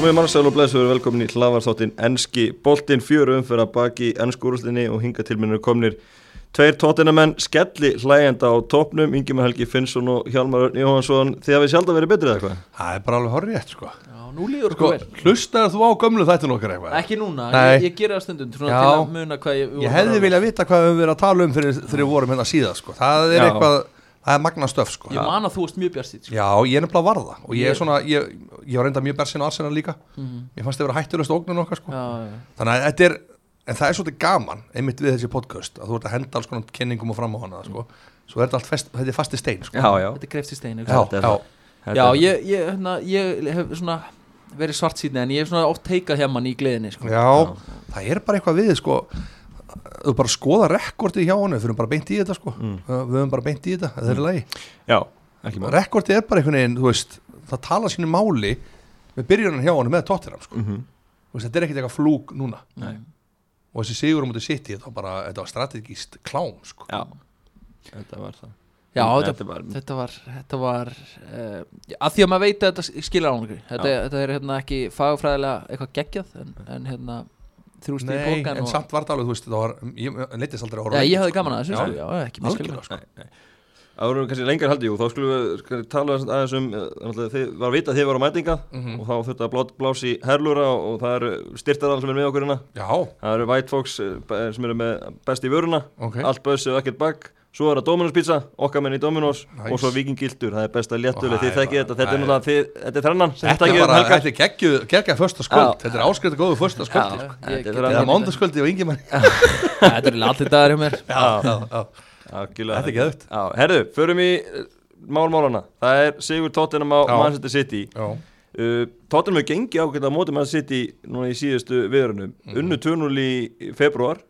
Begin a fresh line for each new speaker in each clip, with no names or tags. Komið mannsæl og blessuður velkomin í hlavarþáttin Enski boltinn fjöru umfyrra baki í ennsku úrústinni og hinga til minnur komnir tveir tóttinamenn skelli hlægjenda á topnum, Ingemar Helgi Finnsson og Hjalmar Örn Jóhansson því að við sjálf að vera betri eða hvað?
Það er bara alveg horrið, sko.
Já, nú líður
sko
okkur vel.
hlustar þú á gömlu þættin okkar eitthvað?
Ekki núna,
Nei.
ég, ég gera það stundum svona
Já.
til að muna hvað ég
Ég hefði viljað vita hvað við höfum verið að tala um þegar þegar við vorum hérna síðan, sko. Það er
Já.
eitthvað, það er magna stöf, sko.
Ég man að þú varst mjög bjartið sko.
Já, ég er nefnilega varða og ég
Ég-
er svona, ég, ég var reynda mjög bersin á Arsenal líka. Ég fannst það vera hættulegst ógnun okkar, sko.
Já, Mhm. já.
Þannig að þetta er, en það er svolítið gaman, einmitt við þessi podcast, að þú ert að henda alls konar kenningum og fram á hana, sko. Svo er þetta allt fest, þetta er fasti stein, sko.
Já, já,
Þetta er kreft í steinu sko.
Já,
Þetta er
já.
það. Þetta
já
er-
ég, ég, hérna, ég hef svona verið svart síðan en ég hef svona oft teikað hjá mann í gleðinni sko.
Já, það er bara eitthvað við sko þú bara skoða rekordið hjá honum við höfum bara beint í þetta sko
Mm.
við höfum bara beint í þetta, það er lagi
Já, ekki mál
rekordið er bara einhvern veginn, þú veist það tala sínu máli með byrjunan hjá honum með tóttiram sko,
Mhm.
Þú veist, þetta er ekkert eitthvað flúk núna
Nei.
og þessi sigur á mútið sitt í þetta var bara, þetta var strategist klám sko
Já, þetta var það
Já, þetta,
þetta var
þetta var, þetta var uh, að því að maður veit að þetta skilur ánlegur þetta, þetta er hérna ekki fagfræðilega eitthvað geggjað en, en hérna þrjúst í
Nei,
bókan
en samt var það alveg, þú veist, það var ég leittist aldrei að
Já,
horfa á
ég
leikinn,
hafði
sko.
gaman að þessu sko.
Já,
Já, ekki miskilur
algjörlega sko
Það vorum við kannski lengar haldið, jú, þá skulum við kannski tala aðeins- aðeins um, eh, náttúrulega þið var vitað að þið voru á mætinga og þá þurfti að blá- blási herlura og, og það eru styrtarar sem er með okkur hérna
Já,
Það eru White Fox eh, be- sem eru með best í vöruna
ok,
Allt bössið og ekkert bakk Svo er það Dominos pizza, okkar menn í Dominos
Nice.
Og svo Viking Gildur, það er besta léttuleg
Æ,
Þið þekkið
bara-
þetta, þetta er
æ.
náttúrulega þið- Þetta er þrennan sem
Þetta
þið
er
takið um
bara,
helgar
þetta er geggju, geggja första skuld,
Já.
þetta er áskriðt góðu första skuld
Já,
Þetta er
ég get
þeirra-
Eða
alveg-
mándaskvöldi og yngi mann
Þetta er allir dagar hjá mér
Algjörlega.
Þetta er geðvægt.
Já, Herðu, förum í eh, málmálana Það er Sigur Tottenham á
Já.
Manchester City
Já,
uh, Tottenham hefur gengið ákveðlega á móti Manchester City núna í síðustu viðrunum
Mhm.
Unnu törnul í februar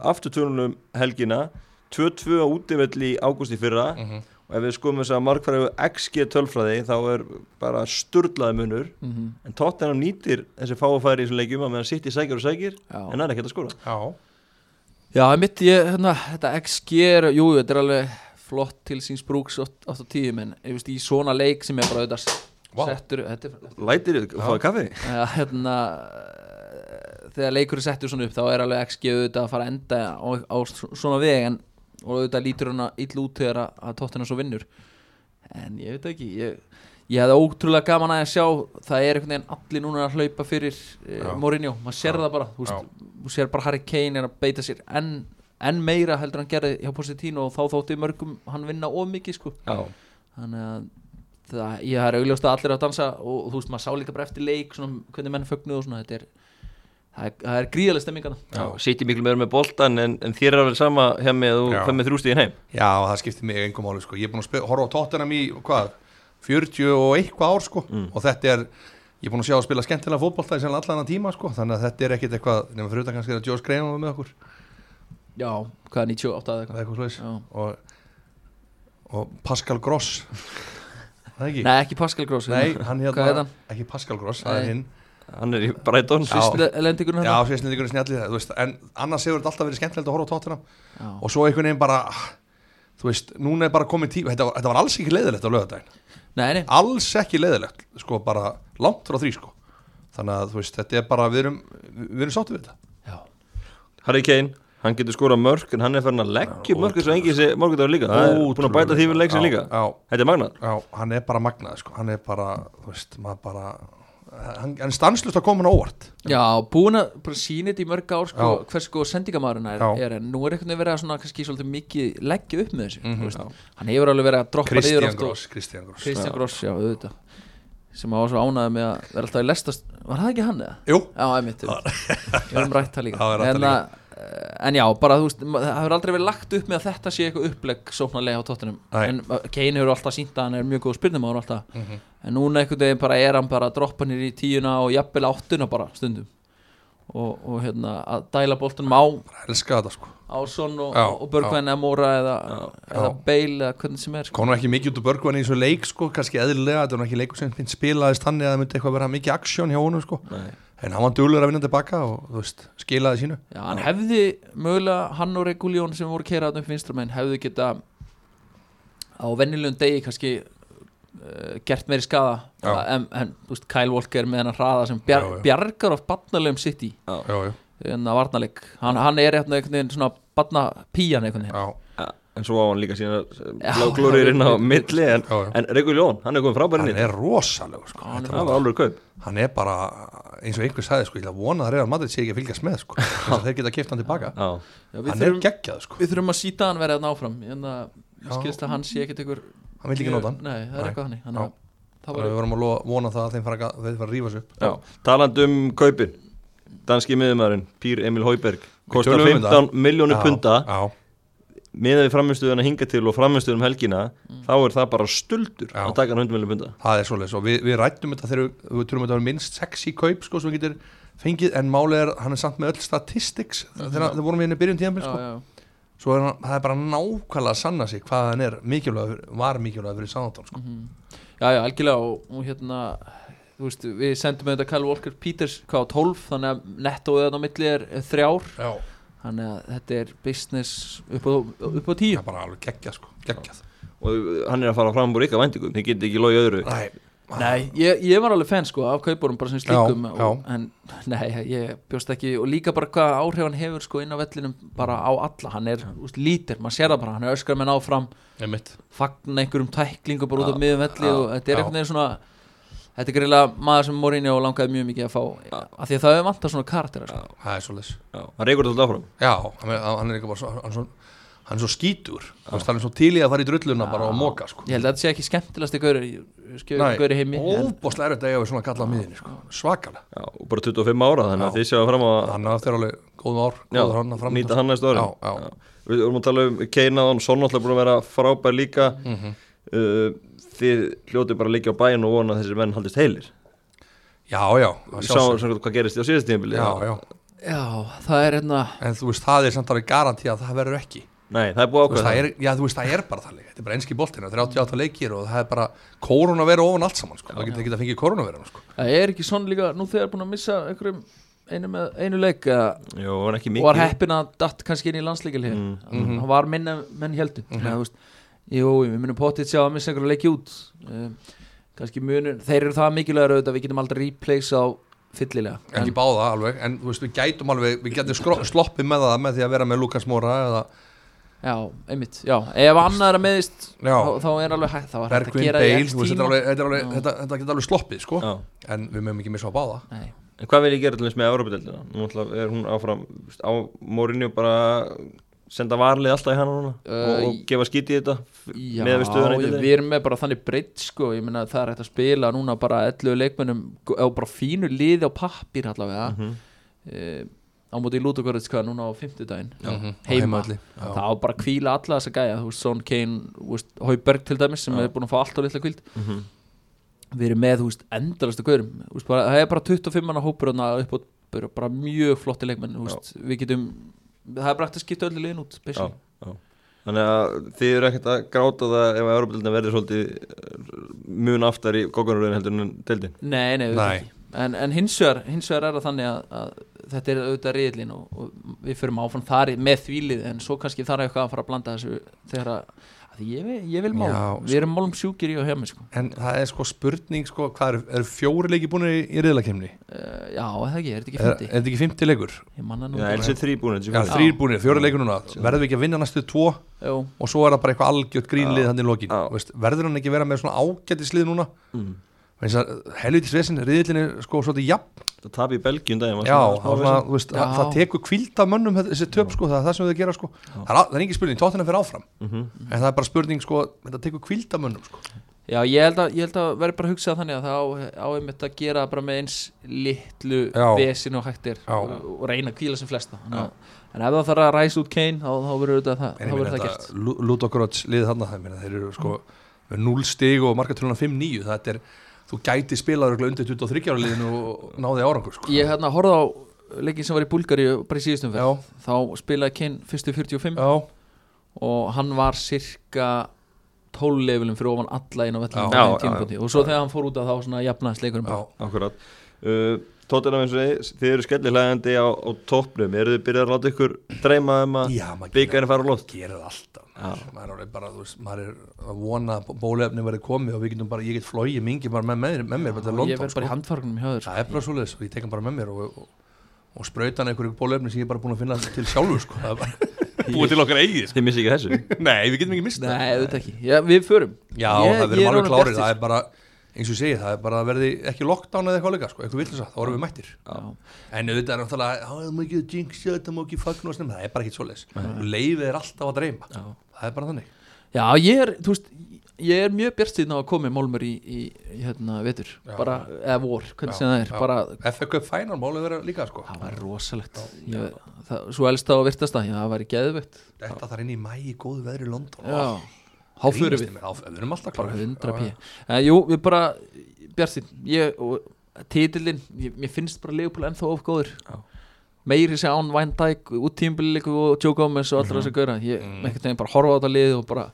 Aftur törnul um helgina 2-2 á útivelli í ágúst í fyrra
Mhm.
og ef við skoðum þess að markfræðu XG tölfræði þá er bara sturlaði munur
Mhm.
en Tottenham nýtir þessi fáfæri í þessum leikjum að meðan City sækir og sækir
Já.
en það er ekkert að skora
já,
Já, mitt ég, hérna, þetta XG er, jú, jú, þetta er alveg flott til síns brúks 8 og 10, menn, ég veist, í svona leik sem er bara auðvitað
Vá.
settur, þetta er,
Lætir þið og fáið kaffi?
ja, hérna, eh, þegar leikur er settur svona upp, þá er alveg XG auðvitað að fara að enda á, á svona veg, en og auðvitað lítur hann að ill út þegar að tóttina svo vinnur, en ég veit ekki, ég, ég hefði ótrúlega gaman að sjá, það er einhvern veginn allir núna að hlaupa fyrir uh,
Já.
Mourinho, maður sér
Já.
það bara, þú veist, þú sér bara Harry Kane er að beita sér enn en meira heldur en hann gerði hjá Positino og þá þótti mörgum hann vinna of mikið sko
já,
þannig að það, ég er augljóst að allir eru að dansa og, og þú veist maður sá líka bara eftir leik svona, hvernig menn fögnuðu og svona þetta er það er, það er gríðaleg stemming hann
já.
City miklu meður með boltan en, en þér er alveg sama hjá mig að þú
Já.
fær með þrjústíðin heim
Já, það skiptir mig engum máli sko. Ég er búin að spe- horfa á Tottenham í, hvað, 40 og eitthvað ár sko.
Mm.
og þetta er, ég er búin að sjá að spila skemmtilega fótbolta í sennilega allan að tíma sko. þannig að þetta er ekkit eitthvað, nema fyrir utan kannski að Joe Graham var með okkur,
já, hvað er 98 eða
eða eitthvað slags
Já.
og, og Pascal Gross Það ekki?
eitthvað nei ekki Pascal Gross
Nei, hann
hvað er
hérna,
hann?
ekki Pascal Gross, það er
Nei.
hinn
Hann er í Brighton
Já.
lendingurinn
Já,
hann hérna?
sérstendingurinn snjallið, þú veist, en annars hefur þetta alltaf verið skemmtilegt að horfa á Tottenham
Já.
og svo einhvern veginn bara þú veist, núna er bara komið tíma þetta var, þetta var alls ekki leiðilegt á lögadaginn
nei, nei,
alls ekki leiðilegt, sko, bara langt frá því, sko þannig að, þú veist, þetta er bara, við erum við erum sáttu við þetta
já
Harry Kane, hann getur skorað mörk en hann er farin að leggja upp mörk eins og engi sé morgundagur líka Það er búin að bæta því við leiksin
Já,
líka
já,
Þetta er magnað
já, hann er bara magnað, sko hann er bara, þú veist, maður bara hann, hann er stanslust að koma hann á óvart
Já, búin að bara sína þetta í mörg ár sko,
Já.
hvers sko sendingamæðurinn er,
Já.
er en nú er einhvern veginn verið að svona kannski svolítið mikið leggja upp með þessu mm hann hefur alveg verið að droppa
Mhm. Christian
niður oft og-
Gross, Christian Gross
Kristján Gross, já, auðvitað sem á svo ánaði með að vera alltaf í lestast var það ekki hann eða?
Jú,
Já, einmitt, við erum rætt það líka
Já, við höfum rætt það
en, að, en já, bara þú veist ma- það hefur aldrei verið lagt upp með að þetta sé eitthvað upplegg sóknarlega á tóttunum
Nei. Mhm.
en uh, Kane hefur alltaf sínt að hann er mjög góð spyrnum á hann alltaf en núna einhvern veginn bara er hann bara að droppa nýr í tíuna og jafnvel áttuna bara stundum og, og hérna að dæla boltunum á
elska þetta, sko
Ásson og,
Já,
og Börgvæn eða Móra eða, eða Bale eða hvernig sem er sko.
Konum ekki mikið út úr börgvann í þessu leik sko, kannski eðlilega, þetta var nú ekki leikur sem finnst spilaðist þannig að það myndi eitthvað vera mikið aksjón hjá honum sko.
Nei.
en hann var dölur að vinna tilbaka og þú veist, skilaði sínu
Já, hann hefði mögulega hann og Reguljón sem voru keirað upp vinstramenn hefði geta á vennilegum degi kannski uh, gert meiri skada
Já.
en, en þú veist, Kyle Walker með hennar hraða sem bjar,
Já, já.
bjargar of barnalegum sitt í
já, já,
en að varnaleg hann, hann er hérna einhvern veginn svona barna píjan einhvern veginn
já,
en svo á hann líka sína eh,
Já.
bláglórir inn á milli en,
Já, já.
en Reykjavík Ljón, hann er komið frábærinni
hann er rosalegur sko.
Hann er
Þetta
það var alveg kaup
var- hann er bara, eins og einhver sagði sko, ég ætla að vona að Real Madrid sé ekki að fylgjast með sko. þess að þeir geta kipta hann tilbaka
já,
Já, við,
hann er
þurfum,
geggjað sko.
við þurfum að síta hann verið að áfram en
Já.
að skilst að hann sé ekkert einhver
hann vil ekki
mjög-
nota hann
nei, það er
Nei.
eitthvað þannig. þannig
Já.
að það
Þannig að
var
við vorum að lo- vona það að þeim fara að, þeir fara að rífa sig upp
já. talandi um kaupin danski miðumæðurinn, Pír Emil Hauberg kostar
tölum um
15 miljónu
Já,
punta
já,
miðað við framhengstöðuna hinga til og framhengstöðum helgina þá er það bara stuldur
Mm. Já.
að taka hann 100 miljónu punta
það er svoleiðis og við, við rættum þetta þegar við, við trúum að þetta var minnst sexy kaup sko sem við getur fengið en málið er hann er samt með öll statistics þegar það vorum við henni byrjun tíðanbyrg sko
já, já.
svo er hann, það er bara nákvæmlega að sanna sig hvað hann er mikilvæg, var mikilvæg fyrir Sandantón sko.
Mhm. Já, já, algjörlega og, og hérna þú veist, við sendum þetta Kyle Walker Peters hvað á 12, þannig að nettoðið þarna á milli er er þrjár,
Já,
þannig að þetta er business upp á, upp á
það
tíu
er bara alveg geggjað sko, geggjað
og uh, hann er að fara fram úr ykkar væntingum þið getið ekki logið öðru
Nei,
Nei, ég, ég var alveg fan sko af kaupunum bara sem slíkum
Já,
og, en nei, ég bjóst ekki og líka bara hvað áhrif hann hefur sko inn á vellinum bara á alla, hann er úst, lítir maður sér það bara, hann er öskar með náfram
einmitt
fagna einhverjum tæklingum bara út af miðum velli
já,
og þetta er
já.
einhvern veginn svona þetta er greiðlega maður sem Morinni og langaði mjög mikið að fá af því að það hefur vantað svona karakter sko.
Það er svoleiðis
Já, hann reykur þetta áfram
Já, hann er, hann er ekki bara svo, hann er svo, hann er svo skítur Þú veist, hann er svo til í að fara í drulluna bara og moka sko
ég held að þetta sé ekki skemmtilegasti gauri
Nei,
gauri heimi en,
óbúslega erfitt að eiga við svona kalla á miðinni sko. svakalega
já, og bara 25 ára þannig
Já.
að þið sjáum fram á að
hann er eftir alveg góðum ár
Já,
góður hann að fram
nýta hann næstu ári
já, já.
Við vorum að tala um Keinaðan, Son alltaf búin að vera frábær líka
Mhm.
uh, Þið hljótið bara að líka á bæin og vona að þessir menn haldist heilir
já, já, að
Við sáum
sjálfsögðu.
svona hvað gerist á síðast tíðanbili
já, já.
já, það er hérna
en þú veist, það er samt alveg garantí að það verður ekki
Nei, það er búið
Þú veist,
ákveð
það er, já, þú veist, það er bara þannig Þetta er bara enski boltina, 38 leikir og það er bara koronaveru ofan allt saman sko. það getur ekki að fengið koronaveru sko.
það er ekki svona líka nú þegar búin að missa einhverjum einu, með, einu leik eða-
Jó, hann ekki
og var
mikið
heppin að datt kannski inn í landsleikilið
mhm.
mm. hann var minna menn heldur mm -hmm. veist, jú, við munum potið sjá að missa einhverju leiki út um, kannski munur þeir eru það mikilvægur auðvitað við getum aldrei replace á fyllilega
ekki báða alveg, en þú veist, við gætum alveg við getum skro- sloppið með það með því að vera með Lukas Mora eða
já, einmitt, já, ef annað er að meðist
Já.
þá, þá er alveg hægt þá er hægt að
Bergvin
gera í
Bale,
X
þú veist, þetta, er
tíma.
alveg, þetta, er alveg, þetta, þetta getur alveg sloppið sko.
Já.
en við mögum ekki missa á báða
Nei.
En hvað vil ég gera til þess með Európa-deltina? Nú alltaf er hún áfram þú veist, á morinu bara senda varlið alltaf í hana núna og, og
í-
gefa skítið í þetta f-
Já,
miðað við stöðuna í
ég-
deildinni?
við erum með bara þannig breytt sko, ég meina það er hægt að spila núna bara 11 leikmönnum á bara fínu liði á pappir allavega
Mhm.
mm
Mhm,
á móti í Lúdogorðis hvað núna á 50 daginn
Mhm. Á
heima,
heimavelli, já.
það á bara að kvíla alla þessa gæja, þú veist, Son Kane þú veist, Hauberg til dæmis sem er búin að fá allt á litla kvíld
mhm.
við erum með, þú veist, endalastu gaurum þú veist, bara, það er bara 25 manna hópur þarna upp á, bara, bara mjög flotti leikmenn þú veist, við getum, það er bara hægt að skipta öllu liðin út,
já,
basically
já. Þannig að þið eru ekkert að gráta það ef að Európa-deltina verður svolítið eh, mun aftar í kokkanuröðin heldur en deildin
Nei, nei, auðvitað
Nei.
ekki En, en hins, vegar, hins vegar er það þannig að, að þetta er auðvitað riðlin og, og við förum áfram þar í- með þvílið en svo kannski þarf eitthvað að fara að blanda þessu þegar að, að ég, vil- ég vil málum,
Já,
við erum málum sjúkir í og hjá mig sko.
en það er sko spurning sko, hvað eru er fjóri leiki búin í, í riðlakemni
uh, Já, er það ekki, er þetta ekki
er, er
fyndi?
þetta ekki 50 leikur
Ég manna nú
Já,
ekki.
LC þrýbúin
Eh, Já, þrýr búinir, fjóri leikur núna verðum við ekki að vinna næstu tvo
Jú,
og svo er það bara eitthvað algjört grínlið hann í lokin
Já.
Þú veist, verður hann ekki að vera með svona ágætislið núna
Mm.
Vegna þess að helvitis vesin, riðilin er sko svolítið jafn
Það tap í Belgjum daginn var
já,
svona smá
svona,
vesen.
þú veist,
Já.
það, það tekur kvíld af mönnum þetta- þessi töp sko, það er það sem þau gera sko það er, al- það er engin spurning, tóttina fyrir áfram
Mhm.
en það er bara spurning sko, þetta tekur kvíld af mönnum sko.
já ég, held að, ég held að verði bara að hugsa það þannig að það á, á einmitt að gera bara með eins litlu
Já.
vesin og hættir
Já.
og, og reyna að kvíla sem flesta Þannig að, En ef það þarf að ræsa út Kane þá, þá verður það, það,
en
þá
ég
verður
meina
það gert
þetta Ludogorets liðið þarna það, meina, þeir eru sko með 0 stig og markartölunar 5-9 þetta er, þú gæti spilað örugglega undir 23 ára liðinu og náði árangur sko.
Ég hérna horfði á leikin sem var í Búlgari bara í síðustum
já,
fyrir þá spilaði Kane fyrstu 45
já,
og hann var cirka 12 levelum fyrir ofan alla inn á
Já,
vellum
já,
og svo þegar hann fór út að þá svona jafnaðist leikurum
já
Akkurat uh, Tottenham eins og þið, þið eru skellilegandi á, á toppnum, eru þið byrjað að láta ykkur dreyma um að
Já, maður gerir,
byggarinn fara á lótt?
gerir það alltaf maður. maður er alveg bara, þú veist, maður er að vona að bólefni verið komið og við getum bara, ég get flóið mingi bara með, með, með mér bara til
og ég
London,
verð bara í handfarkunum hjá þér sko.
það er bara svoleiðis og ég tek hann bara með mér og, og, og sprautan einhverju bólefni sem ég er bara búin að finna til sjálfur sko. Það er bara- búið til okkar eigið sko.
Þið missi ekki þessu?
nei, við getum ekki mistað
Nei, auðvitað ekki, já, við förum
já, það
Ég- ég
verðum alveg
er honum
klárið það
bjartsýnn.
er bara, eins og ég segi, það er bara að verði ekki lockdown eða eitthvað líka, sko, eitthvað villisa, þá erum við mættir
Já.
en auðvitað er náttúrulega, "Á, það má ekki jinxja þetta má ekki fagna og snemma, það er bara ekki svoleiðis leifið er alltaf að dreyma,
Já.
það er bara þannig
Já, ég er, þú veist, ég er mjög bjartstýrn á að koma í málmur í, í, í hérna, vetur,
Já.
bara, eða vor, hvernig sem það er,
já.
bara,
FA Cup Final málið verið líka sko
það var rosalegt, ég, það, svo elsta og virtasta, já, það var í geðveitt,
Þetta þar inn í mæ í góðu veðri í London
já,
Ó,
þá fyrir
grínist
við,
í mér, þá- Við erum alltaf
bara
klárir.
100
um Já,
pí,
já.
uh, jú, við bara, bjartstýrn, ég, og titillinn, ég- mér finnst bara Leopold ennþá of góður,
Já.
meiri sér án Van Dijk, út tímbiliku og Joe Gomez
Mhm.
og allra þess að gauðra, ég, mm. einhvern veginn bara horfa á þetta lið og bara,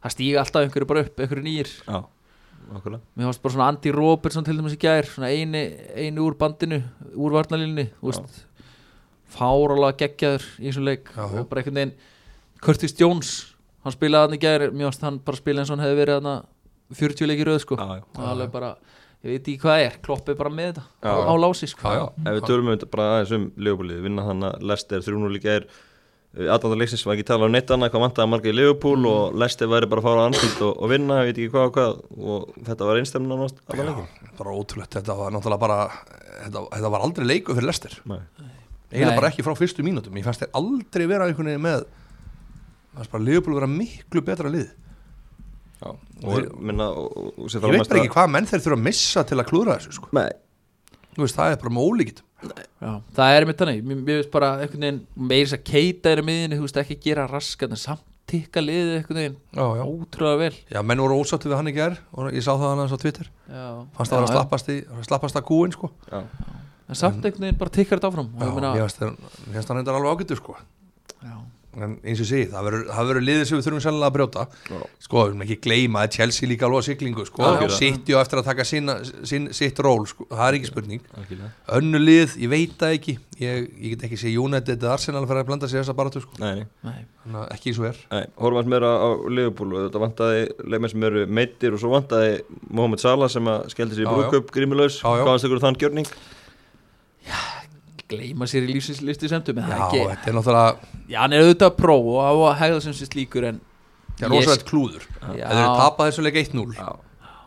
það stíga alltaf einhverju bara upp, einhverju nýjir,
Já, okkurlega.
Mér fannst bara svona Andy Robertson til dæmis í gær svona eini, eini úr bandinu úr varnalínu fáralega geggjaður í þessum leik
Já, já.
og bara einhvern veginn Curtis Jones, hann spilaði hann í gær mér fannst hann bara spila eins og hann hefði verið hann 40 leik í röð sko
Já, já.
Það er alveg bara, ég veit ekki hvað það er, kloppið bara með þetta
Já,
á,
já.
á lási sko
Já, já.
Ef við tölum um þetta bara aðeins um Leopoldið, vinna þannig að Lester 3-0 líka er Adanda Leiksins var ekki að tala um neitt annað hvað vantaði marga í Leopold og Lester væri bara að fara á anslut og, og vinna, ég veit ekki hvað og hvað og þetta var einstemna nátt allan leikin
Þetta var ótrúlegt, þetta var náttúrulega bara Þetta, þetta var aldrei leiku fyrir lestir
Nei.
Eiginlega
Nei.
bara ekki frá fyrstu mínútum Ég fannst þér aldrei vera einhvern veginn með Það fannst bara Leopold vera miklu betra lið
og minna og, og, og sem
Ég veit bara ekki hvað menn þeir þurfa að missa til að klúra þessu sko.
Nei,
Þú veist, Það er bara með ólíkitt
já, það er mitt þannig, mér mér finnst bara einhvern veginn meiri þess að keita er í miðinu, þú veist ekki gera raskan en samt tikka liðið einhvern veginn
já, já.
ótrúlega vel
já, menn voru ósáttu við hann í gær og Ég sá það hann aðeins á Twitter
já.
Fannst það vera
Já,
að
já.
slappast, í, slappast að kúin sko.
já,
en samt einhvern veginn bara tikkar þetta áfram og
Já,
ég meina,
Mér fannst þér- mér fannst það reyndar alveg ágættur sko.
já,
en eins og ég segi, það verður- það verður liðið sem við þurfum sennilega að brjóta
Já.
sko, við erum ekki gleyma að Chelsea líka alveg á siglingu sko,
Algjörlega.
sitt og eftir að taka sinna, sin, sitt ról, sko, það er ekki spurning
algjörlega
önnu lið, ég veit það ekki ég, ég get ekki sé United eða Arsenal fyrir að blanda sér þessa baratu, sko,
Nei, nei
nei,
þannig að ekki eins og er
Nei, horfum að meira á Liverpool og þetta vantaði leikmenn sem eru meittir og svo vantaði Mohamed Salah sem að skeldi sér í
Já, já.
brúköp grímulaus,
Já, já.
hvað hans ykkur um þann gjörning?
gleyma sér í lífsinslisti semtum en
Já,
það er ekki,
þetta er náttúrulega
já, hann er auðvitað pró og á að hegða sem sér slíkur en
það er
Ég-
rosalegt klúður
Já.
það eru tapað þessu leik 1-0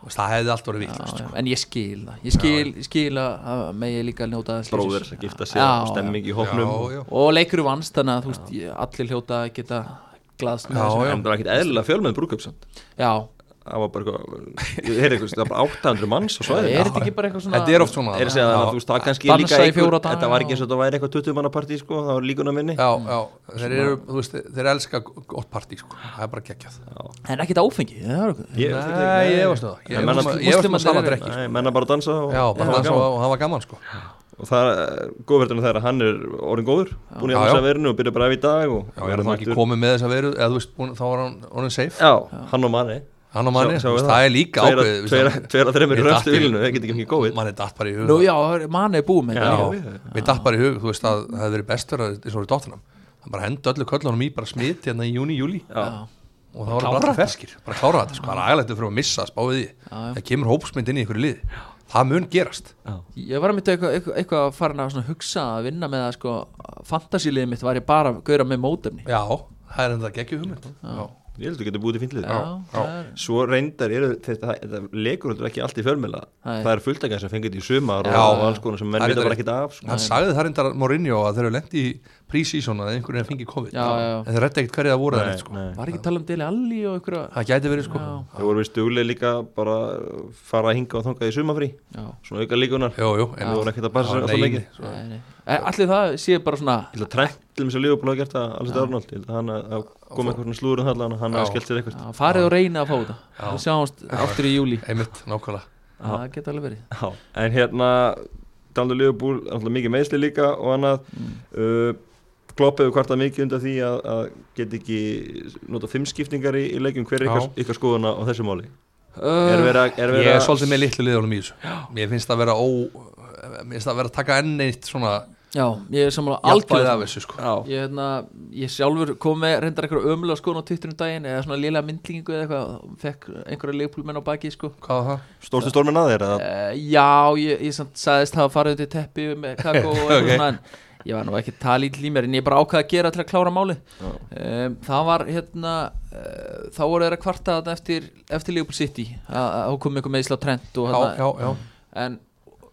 og það hefði allt orðið sko.
já,
vilt
já, en ég skil það, ég skil, ég skil að að megi líka njóta aðeins
Bróður
lífsins.
að gifta
Já,
sér og
já.
stemming í hóknum
já,
og leikur vannst þannig að þú veist, ég- allir hljóta að geta glaðst með
Já,
þessu.
En það var ekkert eðlilega fjölmenn brúköp samt
já,
Það var bara eitthvað, ég heyrði eitthvað, það var bara 800 manns og svæði
er þetta ekki bara eitthvað svona
þetta er oft svona
Er að segja það,
Já.
þú veist, það kannski
Dansa
líka
í fjóra daga,
þetta var
já.
ekki eins og þetta væri eitthvað 20 manna partí, sko, það var líkunar minni.
Já, já, þeir eru, þú veist, þeir elska gott partí, sko, það er bara geggjað
en ekkert áfengi það er okkur
Ég-
Nei, ég varst það
En
Ég
menn-
varst með- ég varst með
Múslimarnir
saman
eru-
drekki
Nei, menna bara að dansa og,
Já, bara
og,
það
það
svo,
var gaman.
hann var gaman sko
og það er góðverðinu þegar að hann er orðin góður, búin í
Já,
að þessa
já.
verinu og byrja bara af í dag og
Já, er það ekki komið með þess að veru eða þú veist, búin, þá var hann, hann safe
Já, hann og manni
Hann og manni,
Sjá-
þú
sjáum
veist,
það.
það er líka ákveðið þú veist,
Tveir að þreymur
Mér datt
röstu
í-
vilinu, það getur ekki góðið
Manni datt bara í hug
nú já, manni er búið með
Já.
þetta
já, mér datt bara í hug, þú veist, að það hefði verið bestur að eins og verið dóttunum Hann bara hendi öllu köllunum í, bara smit hérna í júni, júli
Já,
Já.
og það var bara allir ferskir, bara klára þetta sko, það er aðgælættu fyrir að missa, spáði því
já.
Það kemur hópsmynd inn í ykkur lið Það mun gerast
Ég var að mynda eitthvað, eitthvað, eitthvað farin að svona hugsa að vinna með það sko Fantasíliðið mitt var ég bara að gauðra með mótefni
Já, það er enda geggjum hugmynd Já,
ég heldur getur búið til fyndlið
það er-
Svo reyndar eru, þetta, þetta leikur heldur ekki allt í fjölmjöla
Nei.
Það er fulltakar sem fengið í sumar
Já.
og alls konar sem menn
Það er
vita bara
þetta-
ekkert af sko.
Hann sagði það reyndar Mourinho að þeir eru lent í pre-season að einhvern veginn fengi COVID
Já, já.
en þeir rétti ekkert hverju það voru það
Nei,
sko.
nei.
Var ekki að tala um Deli Alli og einhverja
það gæti verið sko
Það voru við stuglega líka bara fara að hinga og þangað í sumafrí
Já,
Svona auka líkunar
jú, jú,
En það voru ekkert að bara
Já,
sér alltaf
nei,
leikið
nei.
Svo- nei, nei. E, Allir það sé bara svona
Ég held að Trent til þess að Liverpool hafa gert það alveg þetta Arnold Ég held að hann að- að kom eitthvað svona slúður um það allan Hann hafa
Já.
skellt sér eitthvað
já, farið og reyna að fá þetta Við sjáumst aftur í júli
einmitt, nákvæmlega
Það geta alveg verið
Já, en hérna Daldur Liverpool, alltaf mikið meðsli líka og annað
Mm.
uh, Klopp hefur kvartað mikið undan því að, að get ekki nota fimm skiptingar í, í leikjum hver er
Já.
ykkar, ykkar skoðuna á þessu máli
uh,
er verið að, er
ég
verið
er
að
svolítið með litlu liðunum í þessu ég finnst það vera ó mér finnst það að vera að taka enn eitt svona
já, ég er sammála
jafnbæði af
algjörð
þessu sko
Já,
ég, hérna, ég sjálfur kom með reyndar einhverja ömulega skoðun á Twitterum daginn eða svona lélega myndlingu eða eitthvað og fekk einhverja leikpúlmenn á baki sko.
Hvað var það?
stórstu stormin að þér eða?
Eh,
uh, Já, ég, ég samt sagðist hafa farið til teppi með kakó og eitthvað
Ok.
svona en ég var nú ekki talið í mér en ég bara ákvaði að gera til að klára máli
Já.
um, Það var hérna uh, þá voru þeir að kvarta þarna eftir, eftir Liverpool City að að þá kom einhver meðsla á trend og
Já,
hérna,
já, já,
en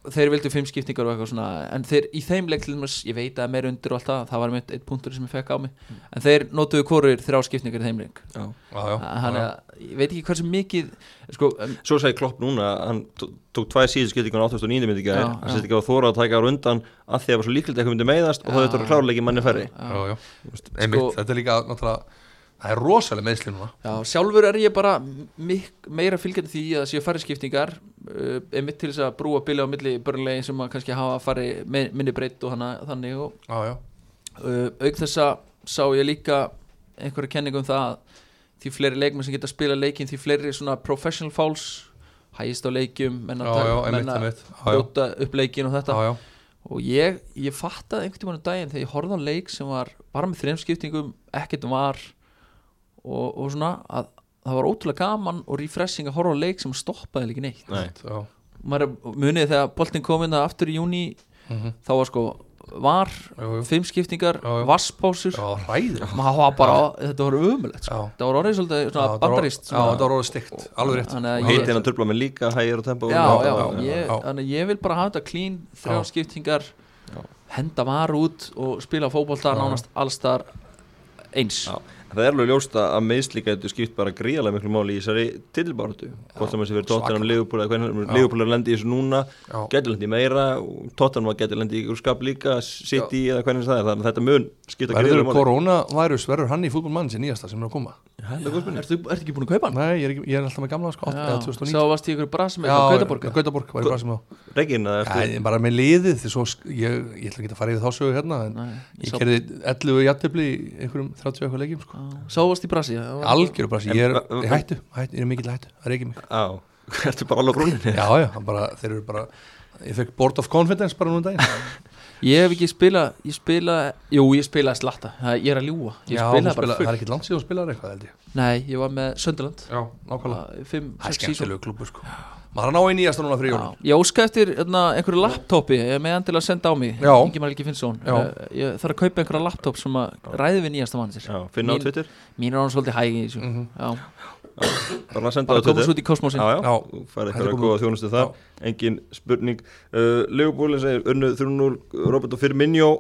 þeir vildu fimm skiptingar og eitthvað svona en þeir í þeim leik til þess, ég veit að meir undir og allt það, það var mitt eitt punktur sem ég fekk á mig
Mm.
en þeir notuðu korur þrjá skiptingar í þeim leik
Já.
já, já,
þannig
já.
að ég veit ekki hversu mikið sko, um,
Svo sagði Klopp núna að hann tó- tók tvær síðu skildingun á 89. myndi gæði
Já,
hann
já.
sett ekki á þóra að taka á rundan að því að það var svo líklegt að eitthvað myndi meiðast og þá
Já.
þetta var klárleiki manni færri
já, já. Einmitt,
sko-
þetta er líka náttúrulega það er rosalega meðsli núna
Já, sjálfur er ég bara mik- meira fylgjandi því að séu færri skiptingar uh, einmitt til þess að brúa bylja á milli börnlegin sem að kannski hafa fari minni breytt og hana, þannig og
já, já,
uh, auk þess að sá ég líka einhverja kenningu um það að því fleiri leikmenn sem geta að spila leikin því fleiri svona professional fouls hægist á leikjum, menn
já,
að
já,
taka- menn
einmitt,
að
einmitt já, já,
brjóta upp leikin og þetta
já, já,
og ég, ég fattaði einhvern tímann um daginn þegar ég horfði á leik sem var bara með þreim skiptingum, ekkert var og, og svona að það var ótrúlega gaman og refreshing að horfa á leik sem stoppaði líka neitt
Nei,
já.
maður er- munið þegar boltin kom inn aftur í júni
Mhm.
þá var sko var,
Jú, jú.
fimm skiptingar,
Já, já.
vasspásur
já ræður
maður var bara, þetta var ömulegt sko.
já,
það var orðið svolítið
Já,
svona
þetta var-
bandarist
já, þetta var orðið stygt, alveg rétt
Þannig að ég-
heitin að tröfla með líka hægir og tempo
já,
Já,
já,
já,
ég,
já.
Þannig, að ég vil bara hafa þetta clean
Já.
þrjá skiptingar
Já.
henda var út og spila fótbolta
Já.
nánast allstar eins
Já. Það er alveg ljóst að meðsli gætu skipt bara gríðarlega miklu máli í þessari titilbáratu hvort sem þessi verið Tottenham Leopold eða hvernig
Já.
Leopold er lendi í þessu núna
Já.
gæti lendi í meira og Tottenham getur lendi í ykkur skap líka City eða hvernig það er þannig að þetta mun skipta
verður
gríðarlega máli
koronaværus, verður hann í fútbolmann sem nýjasta sem er að koma
Heldur góð spurning.
Ertu, ertu ekki búin að kaupa hann?
nei, ég er, ekki, ég er alltaf með gamla sko, 8 eða
Sá
2009
varst í ykkur brasi með Gautaborga
Gautaborg var í Brasilíu.
Regina,
Já,
ertu-
ég er bara með liðið því svo, sk- ég, ég ætla ekki að fara yfir þá sögu hérna en
Nei,
ég
sá-
kerði 11 jættibli í einhverjum 30 eitthvað leikjum sko.
Sá varst í brasi það var-
algjör bara, ég er
En-
ég hættu, hættu, ég er mikill hættu, það er ekki mig
á, ertu bara alveg grúninni
já, já, hann bara, þeir eru bara ég fekk board of confidence bara núna um daginn
Ég hef ekki spila Ég spila Jú, ég spilaði slatta Það- Ég er að ljúa Ég
já,
spilaði
spila,
bara
það er
fullt
ekki langt síðan þú spilaði eitthvað held ég
Nei, ég var með Söndaland
já, nákvæmlega,
Fimm,
það er
sex sísón
skemmtilegu klubur sko maður er að ná í nýjasta núna fyrir
Já,
jólum
ég óska eftir hérna, einhverju laptopi ég er með hann til að senda á mig
Já.
Ingimar Helgi Finnsson
Já.
Eh, ég þarf að kaupa einhverja laptop sem að ræði við nýjasta mann sér
Já, finna á
Mín-
Twitter
mín er hann svolítið hæg í þessu
Mhm.
já,
bara senda
bara
á
komast
Twitter
út í kosmosin
Já, já,
Já.
þú farið
Þetta
eitthvað að
kom
góða þjónustu þar engin spurning uh, Leopoldin segir unnu 3-0 Roberto Firmino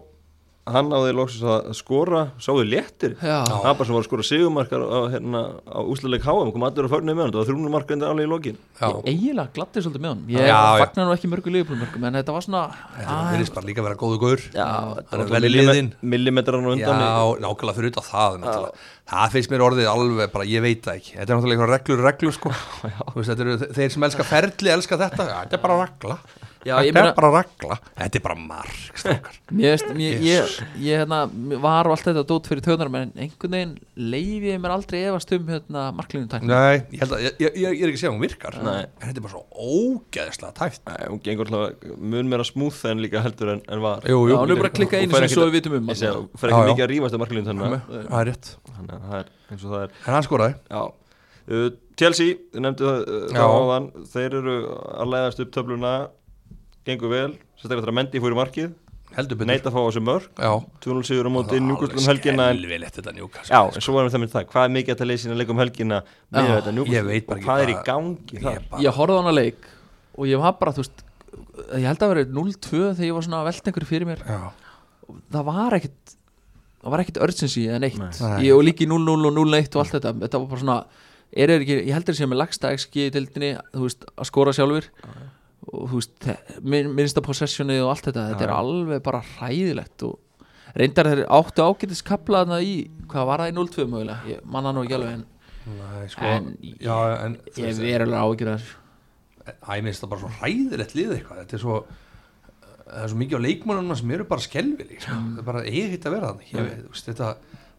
hann náði loksins að skora sáðu léttir
Já.
það bara sem var að skora sigumarkar á, hérna, á úsleik háum kom allir að fórna með hann það var 3-0 marka endur alveg í lokin
já,
ég eiginlega gladdi svolítið með hann ég
Já, já.
fagnar nú ekki mörgu liðbúlmörgum en þetta var svona
það verðist bara líka að vera góðu gaur hann er vel í liðin
Millime- millimetrar á
Já,
undan í-
nákvæmlega fyrir utan það náttúrulega. Það finnst mér orðið alveg bara, ég veit það ekki Þetta er náttúrulega einhverja reglur, reglur sko Þú veist, Þetta eru þe- þeir sem elska ferli, elska þetta Já, Þetta er bara regla
Já,
Þetta
ég meina-
er bara regla Þetta er bara marg strákar.
mér veist mér, ég, ég hérna, mér var á allt þetta dót fyrir tönar en einhvern veginn leiði ég mér aldrei efast um hérna, marklinu tækni
Nei, ég, held að, ég, ég, ég er ekki að segja að hún virkar
Nei.
En þetta er bara svo ógeðslega tæft
Æ, hún gengur alltaf mun meira smúð en líka heldur en, en var
Jú,
já,
jú,
hann er bara að klikka einu
fær
sem
ekkert-
svo við vitum um
Ég segi, hún fer
Já,
ekki
já.
mikið að rífast af marklinn þannig að-
Það er rétt
þannig að það er eins og það er
En hann skoraði
Já uh, Chelsea, þið nefndu það uh,
Já.
þá áðan Þeir eru að leiðast upp töfluna Gengur vel, sérstaklega þegar Mendy fór í markið
Heldur betur
Neitt að fá á þessu mörg
Já
2-0 sigur á móti
um
njúkustlum helgina en,
Elvilegt þetta njúkast
Já, en svo varum við það með það Hvað er mikið að tala í sína leikum helgina með
Já,
þetta
ég veit
njúkustlum
bara ekki
og hvað er í
hvað-
gangi þar
ég horfði á hana leik og ég var bara, þú veist ég held að vera 0-2 þegar ég var svona að velta einhverju fyrir mér
Já,
það var ekkert það var ekkert urgency eða neitt
Nei.
ég, og líki 0-0 og 0-1 og allt þetta þetta var bara svona, er þeir ekki, ég heldur sem er lagsta XG í deildinni, þú veist, að skora sjálfur og þú veist þe- min- minnsta possessionið og allt þetta þetta er alveg bara hræðilegt og reyndar þeir áttu ágætis kapla þarna í, hvað var það í 0-2 mögulega ég manna nú ekki alveg en
Nei, sko,
En-
já, en, þú
ég
veist,
er alveg ágjur að þessu
Æ, mér finnst það bara svo hræðilegt lið eitthvað Þetta er svo eh, Það er svo mikið á leikmannuna sem eru bara skelvili sko. Það er bara eigið hitt að vera þannig ég, veit, þú veist, þetta,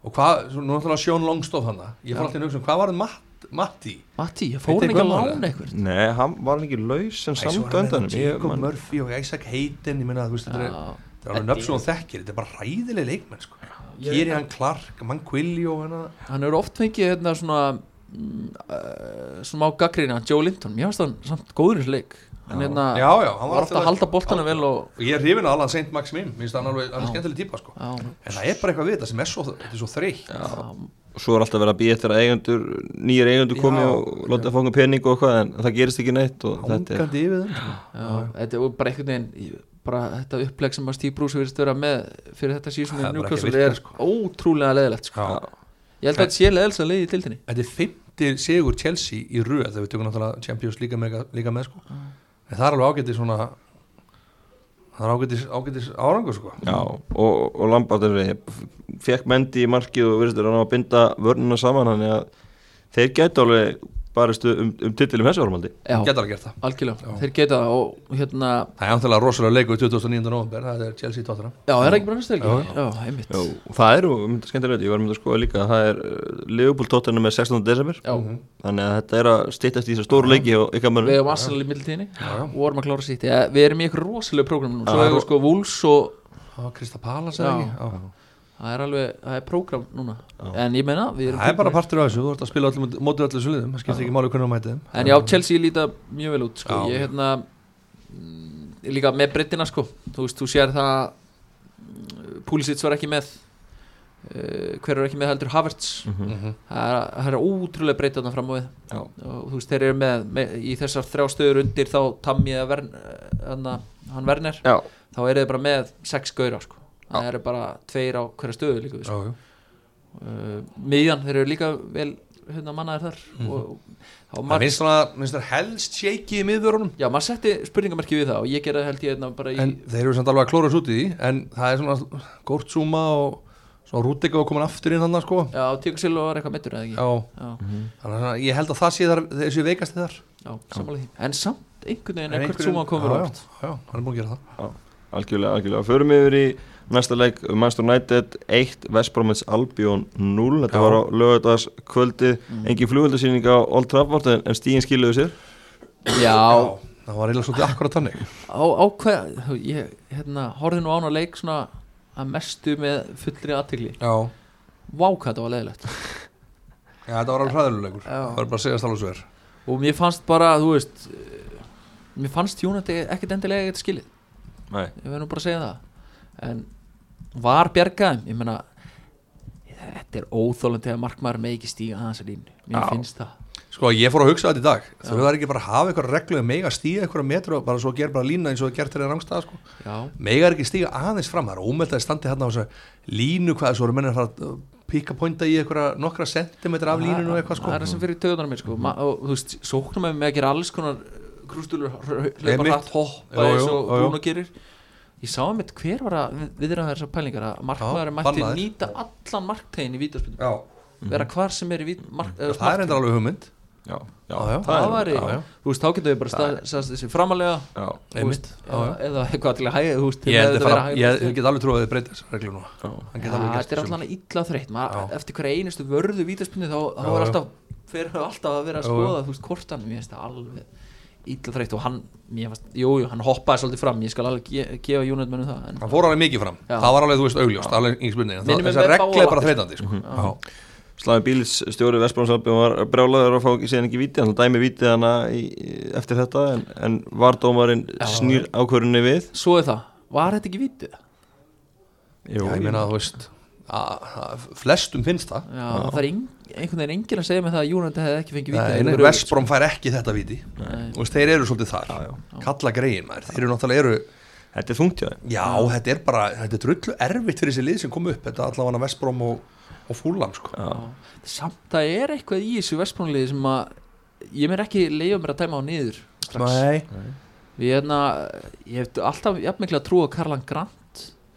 Og hvað, svo, nú náttúrulega Sjón Longstof hann Ég fór alltaf að hugsa um hvað var það Matt Matt, Matti
Matti,
Veit
ég fór hann ekki að
eitthvað um
lána
það?
eitthvað
Nei, hann var hann ekki laus en samt öndanum Ég
Jacob
man-
Murphy og Isaac Hayden ég meina að þú veist þetta er
Já.
þetta er alveg nöfn sem hún þekkir þetta er bara ræðileg leikmenn sko Kirian Clark, Manquillo hérna. hana.
Hann hefur oft fengið hérna svona mm, uh, svona á gaggrina Joe Linton, mér finnst hann samt góður í þessu leik hann hérna
já, já, hann
var
var
alltaf að halda boltana vel og
og ég er hrifin á Alan St. Maximin minnst hann alveg, hann er
Já.
skemmtileg típa sko
já,
en það er bara eitthvað við þetta sem er svo, þetta er svo þreytt
já,
Svo er alltaf verið að býja eftir að eigendur Nýjir eigendur komi
Já.
og láta fanga pening og eitthvað En það gerist ekki neitt og þetta er
ángandi yfir þeim sko.
já, þetta er bara einhvern veginn ég- bara þetta uppleg sem að Steve Bruce virðist vera með fyrir þetta
Það er
síðan með
bara ekki að
Newcastle
virka,
er
sko.
ótrúlega leðilegt sko.
Já.
ég held að þetta sé leðilsa leiði í tildinni
þetta er fymti sigur Chelsea í röð þegar við tökum náttúrulega Champions líka með, líka með sko.
Mm.
en það er alveg ágætið svona það er ágætis, ágætis árangur sko.
Já, og, og Lambardin fekk mendi í markið og virðist verið að ná að binda vörnina saman þannig að þeir gæti alveg baristu um, um titilum þessu árumaldi
já,
geta alveg gert það
algjörlega,
Já.
þeir geta það og hérna,
það er náttúrulega rosalega leiku í 2009. november það er Chelsea tóttina
já, er ekki bara næstu
Já,
helgi já, einmitt
Já, og það eru, mynda skemmtilegt, ég var mynd að skoða líka það er Leopold Tottenham með 16. desember
já,
þannig að þetta er að stýttast í þessar stóru leiki og ykkar
við
mönnum
erum aðsannlega í middiltíðinni
Já, já.
og vorum að klára sýtti ja, við erum í eitthvað rosalega prógram nú svo
Já, ro-
hefur við sko Wolves og
það var Krista Palas
Já.
eða ekki Já.
það er alveg, það er prógram núna en ég meina, við erum
það er bara partur af þessu, þú ert að spila öllum mótið öllu svo liðum, það skiptir ekki máli hvernig þú mætið þeim.
en já, Chelsea líta mjög vel út sko.
Já.
ég hérna mm, líka með breytina sko þú veist, þú sér það mm, Pulisic var ekki með uh, hver er ekki með heldur Havertz
Mhm.
það er, það er ótrúlega breytt þarna fram á við
Já.
og þú veist, þeir eru með, með í þessar þrjá stöður undir þá Tammy eða Vern, anna, hann Werner
Já,
þá eru þeir bara með sex gauðra sko það eru bara tveir á hverja stöðu líka við
Já, já.
uh, miðjan, þeir eru líka vel hérna mannaðir þar og, og
Mhm. það
maður,
minnst svona, minnst það helst shaky í miðvörunum
já, maður setti spurningamarki við það og ég gerði það held ég hérna bara í
en þeir eru samt alveg að klóra þessu út í því en það er svona Gortsuma og svona Rúdega var komin aftur inn hann sko.
já, Tíkasil var eitthvað mittur eða ekki
já,
já,
Mhm.
þannig að svona- ég held að það sé þar þessu veikasti þar
já, sammála því en samt einhvern veginn
En
er hvert
einhverjum-
suma komur
já,
óvart
já, já, hann er búin að gera það
algjörlega, algjörlega Förum yfir í næsta leik Manchester United 1, West Bromwich Albion 0 Þetta
Já.
var á lögadags kvöldi engin flugöldasýning á Old Trafford en, en stíðin skiluðu sér
já,
það var eiginlega svolítið akkurat þannig
á, á hvað þú, ég, hérna, horfði nú án að leik svona að mestu með fullri aðtegli
já,
vá hvað þetta var leðilegt
já þetta var alveg hræðilegur
Já.
það var bara að segja stálega svo er
og mér fannst bara, þú veist eh, mér fannst Jónati ekkert endilega ekkert skilið
Nei,
ég verð nú bara að segja það en var bjargaðum ég meina þetta er óþólandi að markmaður með ekki stíga aðeins að línu, mér
Já.
finnst það
sko ég fór að hugsa þetta í dag þau verður ekki bara að hafa eitthvað reglu mega stíga eitthvað metru og bara svo gera bara lína eins og það gert þeirra rangstæða sko.
já,
megar ekki stíga aðeins fram það er ómeld að standi hérna á þessu línu hvað þessu voru mennir að fara að píka pointa í eitthvað nokkra sentimetra af línunum og eitthvað sko Mhm.
það er það sem fyrir töðunar mér sko Ma, og þú veist, sóknum með mig að gera alls konar krústulur, hlaupa
Einmitt.
hratt hoppa
Jú, jú,
eins og
jú, jú.
Bruno gerir ég sá að mitt hver var að viðraða þessar pælingar að markmaður mætti
bannaðir.
nýta allan marktegin í vítarspilum,
já,
vera hvar sem er í vít, mark,
það
eða
er
markteiginum.
endur alveg hugmynd
já, já,
Já, já.
það
er-
væri,
já, já.
þú veist, þá getum við bara stað- staðst þessi framalega
Já,
þú veist,
Einmitt, já,
eða, eða eitthvað til að hægja þú veist,
ég,
með
held
þetta
að fara,
vera hægri
ég,
vinstri.
ég get alveg trúið að þið breyta þessar reglu nú
já.
hann
Já,
get alveg
þetta
gert
er alltaf illa þreytt maður,
Já.
eftir hverja einustu vörðu vítaspunni þá, þá
Já,
er
já.
alltaf fyrir alltaf að vera að
Já,
skoða þú veist, hvort hann, mér finnst það alveg illa þreytt og hann, mér fannst, jú, jú, hann hoppaði svolítið fram, ég skal alveg ge gefa Júnit mönnum það, en
hann fór alveg mikið fram
Já.
það var alveg þú veist augljóst alveg engin spurning en það-
Minnum við
þessar
með
reglu er
báða
bara þreytandi sko. Já.
Slavi Bílis stjóri Vestbrónsalbi var brjálaður að fá ekki síðan ekki víti hann dæmi víti hana í, eftir þetta en, en var dómarinn snýr ákvörunni við
svo er það, var þetta ekki vítið?
Jú,
Já, ég meina þú veist að- að flestum finnst það
Já, það er ein, einhvern veginn enginn að segja mig það að Júnit hefði ekki fengið vítið
Nei, Vestbrom fær ekki þetta viti
Nei.
og þeir eru svolítið þar kalla greiðin maður, þeir eru náttúrulega eru
þetta er þungt hjá þeim
já, þetta er bara, þetta er drullu erfitt fyrir þessi lið sem kom upp, þetta er allavega Vestbrom og, og Fúlam sko já,
samt það er eitthvað í þessu Vestbrónliði sem að ég mér ekki leiða mér að tæma á niður strax
Nei,
Við hérna, ég hef alltaf jafnmikla trú á Karlan Grant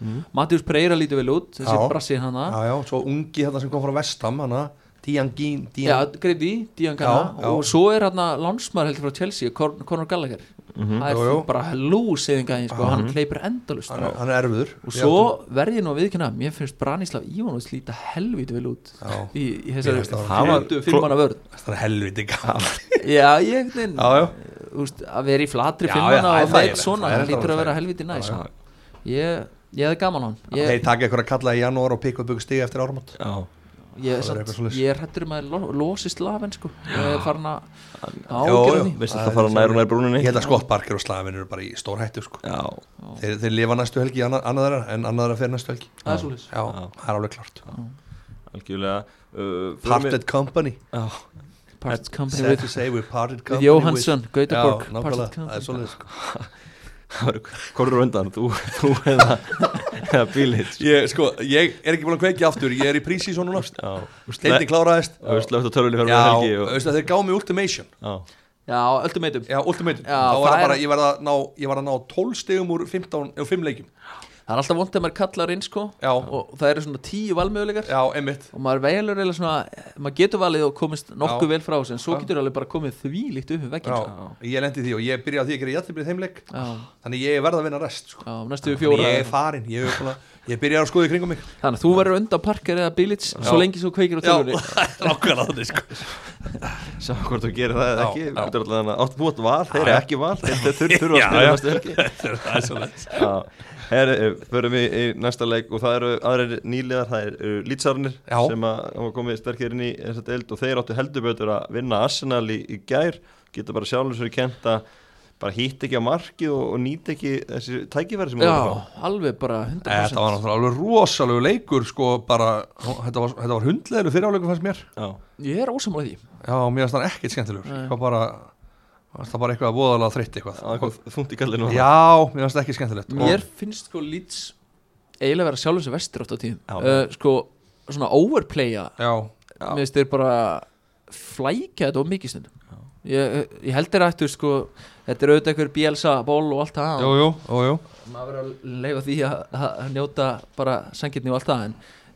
Mhm,
mm. Matjús Preira lítið vel út, þessi
Já.
brassi hana
já, já, svo ungi þetta sem kom frá Vestam hana, Dían Gín
Já,
Dían,
greip í, Dían Gana
Já, já.
og svo er hérna lánsmaður heldur frá Chelsea, Con- Conor Gallagher
mhm.
það
Mm.
er
Jú, jú.
bara lúsiðinga hinn sko, hann hleypur endalust
hann, er- hann er erfiður
og
Ég
svo
held
verð ég nú að viðkynna mér finnst Branislav Ívanovic líta helvítið vel út
Já.
í, í
Mér
þessari
finnst það
alveg-
flottu fimmana vörð
að- Það er helviti gaman
já, ég finn
Já, já.
úst, að vera í
Já,
flatri
já,
fimmana
það er
og með
þægilegt,
svona,
það er
það lítur
alveg
að vera helvítið næ sko. ég, ég hefði gaman á hann
Þeir
ég,
taka ykkur að kalla í janúar og pikka upp ykkur stiga eftir áramót
Já,
ég, er
verður eitthvað
samt,
svoleiðis.
ég er hættur um að lo, losist lafen sko. ég er farin að
Jú, jú.
ágjörði
veist
Það
þetta
er
fara
sem-
nær og nær brúninni
Ég held að Scott Parker og Slavin eru bara í stór hættu sko.
Já,
þeir, þeir lifa næstu helgi í anna- annað þeirra en annað þeirra fyrir næstu helgi
Það er svoleiðis.
Já, það er alveg klart
algjörlega uh, förum við-
Parted company
Já,
Parts Company
Sad
with,
to say we parted
with
company
Jóhansson, Gautaborg
Já, nákvæmlega, það er svoleiðis sko.
það verður hvorur undan, þú, þú eða, eða bílið
Ég, sko, ég er ekki búin að kveiki aftur Ég er í prísi svona nátt
Já,
Deildin kláraðist
slögt á tölvunni fyrir
Já,
með helgi og,
veistu að þeir gáðu mig ultimation
Já,
Já, öllum eitum
Já, ultimation
Já,
Þá var
það
það
er-
bara, ég var að ná, ég var að ná 12 stegum úr 15 og 5 leikjum
Það er alltaf vond þegar maður kallar inn sko
Já.
og það eru svona tíu valmöguleikar
Já, einmitt
og maður veilur eða svona maður getur valið og komist nokkuð
Já.
vel frá þessu en
Já.
svo getur alveg bara komið því líkt upp við
Já,
vekkinn sko.
ég lendi í því og ég byrjaði á því að gera jættiblið þeimleik
Já,
Þannig ég verð að vinna rest sko.
já, næstu
Þannig
við fjóra
Ég er farin, ég, er búin að- ég byrjaði að skoða í kringum mig
Þannig að þú verður undan parker eða bílits svo lengi svo kveikir á
Já,
tölunni
nákvæmlega þannig sko.
sá hvort þú gerir það eða
Já,
ekki
já.
Þetta er allavega átt búið val, þeir eru ekki val Þeir þeir þurfa þurfa að spila
Já, já.
næstu helgi
Það er svolítið
Já, herri, eh, förum við í næsta leik og það eru aðrir nýliðar, það eru eh, lýtsarnir
Já.
sem að hafa komið sterkir inn í þessa deild og þeir áttu heldur betur að vinna Arsenal í, í gær, geta bara sjálfum sér kent að bara hýtt ekki á markið og, og nýtt ekki þessi tækifæri sem
Já,
voru að fá.
alveg bara 100%
Þetta var náttúrulega alveg rosalegu leikur sko, bara, þetta var, þetta var hundlegur fyriráleikur fannst mér
Já,
Ég er ósamlega því
Já, mér finnst það ekkert skemmtilegur
Nei.
Hvað bara, mér fannst það bara eitthvað voðalega þreytt eitthvað
það var eitthvað þungt í gallinu á það.
Já, mér finnst það ekki skemmtilegt Og-
Mér finnst sko lýts eiginlega vera sjálfum sem vestur oft á tíðum
Já.
uh, Sko, svona overplaya
Já,
Mér
já,
finnst þeir bara flækja þetta of mikið stundum ég, ég held þeir ættu sko Þetta er auðvitað einhver bjelsa ból og allt það
jú, jú, jú, jú.
Maður verður að leifa því að, að að njóta bara sangirni og allt það en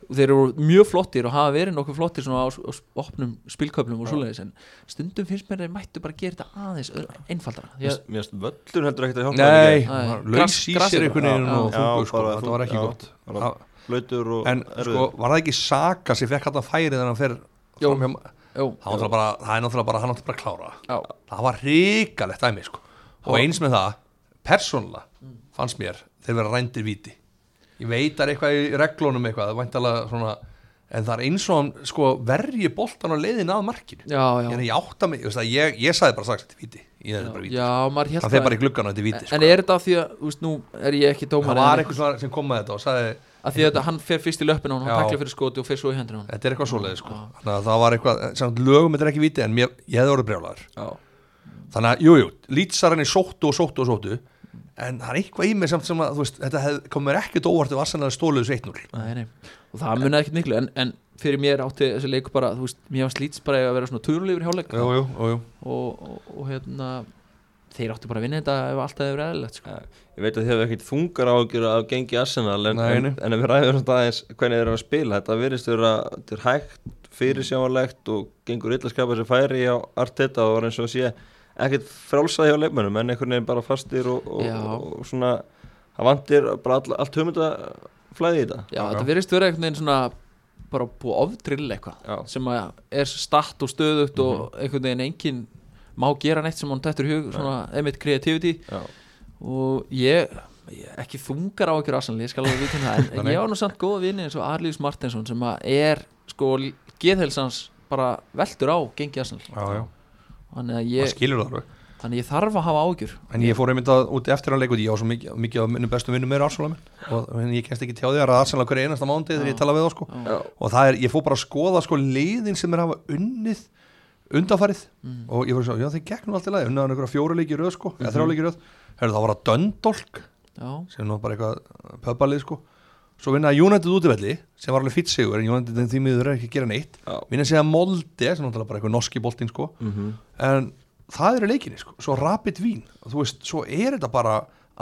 þeir eru mjög flottir og hafa verið nokkuð flottir svona á, s- á s- opnum spilköflum og svoleiðis en stundum finnst mér þeir mættu bara að gera þetta aðeins öðru- einfaldara Því að-
Mér finnst völlur heldur ekkert að hjálpa þeim
Nei,
í gær.
Nei.
var laus
Gras-
í
grasið
sér einhvern veginn
bara.
og
Já. Já,
þungur sko,
bara
þetta
þung-
var ekki
já.
gott
Bara
Það-
Blautur og
En sko,
erfiður.
var það ekki Saka sem fekk hann að færi þegar hann fer
Jú.
fram hjá
Jú,
Það var náttúrulega bara, það er náttúrulega bara, hann átti bara að klára það.
já,
Það var hrikalegt dæmi sko Og eins með það, persónulega fannst mér þeir vera rændir viti Ég veitar eitthvað í reglunum eitthvað, það væntalega svona En það er eins og hann sko verji boltan á leiðin að markinu
já, já.
Ég, ég átta mig, ég, veist það, ég, ég sagði bara strax þetta er viti Ég er bara viti,
Já, maður held
hann fer bara í gluggan og þetta er viti sko.
En er þetta af því að, þú veist, nú er ég ekki
Það
dómar
var eitthvað svona sem kom með þetta og sagði
Af því að þetta, hann fer fyrst í löppin á hann, hann
Já.
takla fyrir skoti og fer svo í hendur á hann
Þetta er eitthvað svoleiði sko Þannig að það var eitthvað, samt lögum þetta er ekki viti en mér, ég hefði orðið brjálaður
Já,
Þannig að, jújú, lýtsarinn er sóttu og sóttu og sóttu En það er eitthvað í mig samt sem að, þú veist, þetta hef, komur ekkert óvart ef Arsenal stóluðu þessu 1-0
nei, nei Og það munaði ekkert miklu, en, en fyrir mér átti þessi leiku bara, þú veist, mér var slíts bara að vera svona túrulífur hjáleik og,
jú, jú
og, og hérna, þeir áttu bara að vinna þetta ef alltaf hefur eðlilegt, sko
Ég veit að þið hefur ekkert þungar ágjur að gengi Arsenal en,
Nei,
en,
nei.
en ef við ræðum svona aðeins hvernig þeir eru að spila þetta virðist vera þetta er hægt, fyrirsjáanlegt og gengur illa að skapa sér færi á Arteta og var eins og sé ekkert frálsað hjá leikmönnum en einhvern veginn bara fastir og, og,
Já.
og, svona það vantir bara all, allt höfmynda flæði í þetta
Já,
Já, já.
þetta virðist vera einhvern veginn svona bara búið að ofdrilla eitthvað
Já.
sem að er statt og stöðugt
Mhm.
og einhvern veginn enginn má gera neitt sem hann tættur í hug, svona emitt creativity
Já.
og ég, ég ekki þungar á ekki rassanlega, ég skal alveg vitin það en, en ég á nú samt góða vini eins og Arlíus Martinsson sem að er sko geðhelsans bara veldur á gengi rassanlega
Já, já,
þannig að
það
ég,
skilur það alveg
þannig að ég þarf að hafa ágjur
En ég fór einmitt að út eftir hann leikut, ég á svo mikið, mikið af minnum bestu vinnum meður Arsenal menn og en ég kemst ekki tjá því að ræða Arsenal á hverju einasta mándi þegar ég tala við þá sko
Já.
og það er, ég fór bara að skoða sko liðin sem er hafa unnið undanfarið og ég fór að sjá, já þeir gegnum allt í lagi, unnaðan einhverja fjóra leikir röð sko, eða þrjá leikir röð, Heyrðu, það var að Döndolk
já,
sem er nú bara eitthvað pöpalið sko svo vinnaði United útivelli sem var alveg fýtt sigur en United en því miður er ekki að gera neitt
Já. Mhm.
vinnaði segja Molde sem náttúrulega bara eitthvað norski boltinn sko en það eru leikinni sko svo Rapid Vín og þú veist svo er þetta bara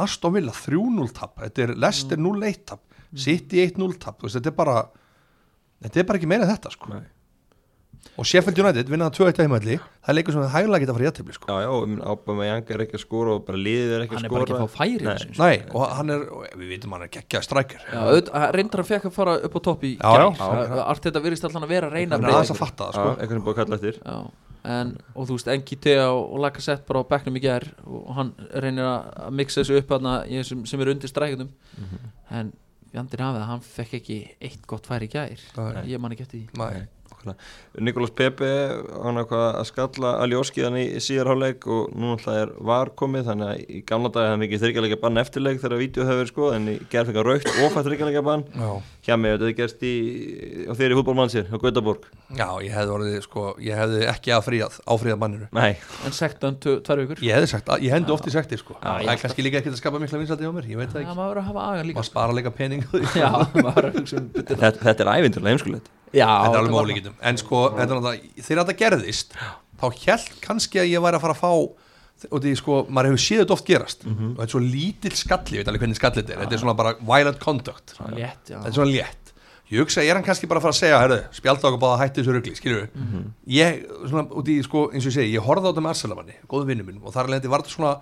Aston Villa 3-0 tap þetta er Leicester
Mm.
0-1 tap City 1-0 tap þú veist þetta er bara þetta er bara ekki meira en þetta sko
Nei.
og Sheffield United vinnaða 2-1 að heimalli það er leikur sem það hægulega geta að fara í aðtefli sko.
Já, já, ábæma Janga er ekki að skora og bara liðið er ekki að
hann er bara ekki
skora
að fá færi
Nei.
já,
Nei, og hann er, og við vitum hann er geggjað strækir
auð, reyndar hann fekk að fara upp á topp í
Já,
gær.
já.
Það- allt þetta virðist allan að vera að reyna
hann
að
er aðeins
breyta
að fatta
Já,
það sko.
einhvern er búið að kalla eftir
Já, en, og þú veist, NGT og, og Lacazette bara á bekknum í gær og, og hann reynir að að mixa þessu upp hana, sem, sem er undir strækjunum en Jandir hafið að hann fekk ekki eitt gott færi í gær
Nei.
ég man ekki eftir því
Nei.
Nikolás Pepe, hann er hvað að skalla Aljóskiðan í síðarháleik og núna alltaf er var komið þannig að í gamla dag hefði mikið þryggjarleika bann eftirleik þegar að vídeo hefur verið sko en í gerð fengið raukt og fætt þryggjarleika bann
Já.
hjá mig, þetta er gerst í á þeirri fútbolmannsir á Gautaborg
Já, ég hefði orðið, sko, ég hefði ekki affríðað, áfríðað manninu
Nei,
en sektan tvær vikur
Ég hefði sagt, ég hendi oft í sektir sko
Já, ég
Það er kannski líka ekkert að skapa mikla vinsaldi á mér, ég veit það
Já,
ekki
maður verður að hafa agan líka
Maður spara líka pening á því.
Já, maður verður að hugsa um betur
þetta, þetta er ævindirlega heimskulegt
Já,
Þetta er alveg
var-
með ólíkindum En sko, þetta er náttúrulega, þegar þetta gerðist Þá held kannski að ég væri að fara að fá Og því sko, maður hefur séð þetta oft gerast
Mhm.
Og þetta er svo lítill skalli, ég veit alveg hvernig skalli þetta er Þetta er svona bara violent conduct
Svona létt, já
Þetta er svona létt Ég hugsa, ég er hann kannski bara að fara að segja, herðu, spjálta okkur báða hætti þessu rugli, skilju Ég, svona, út í, sko, eins og ég segi, ég horfði á þetta með Arsenalmanni, góðu vinnu minn Og þar lendi var þetta svona,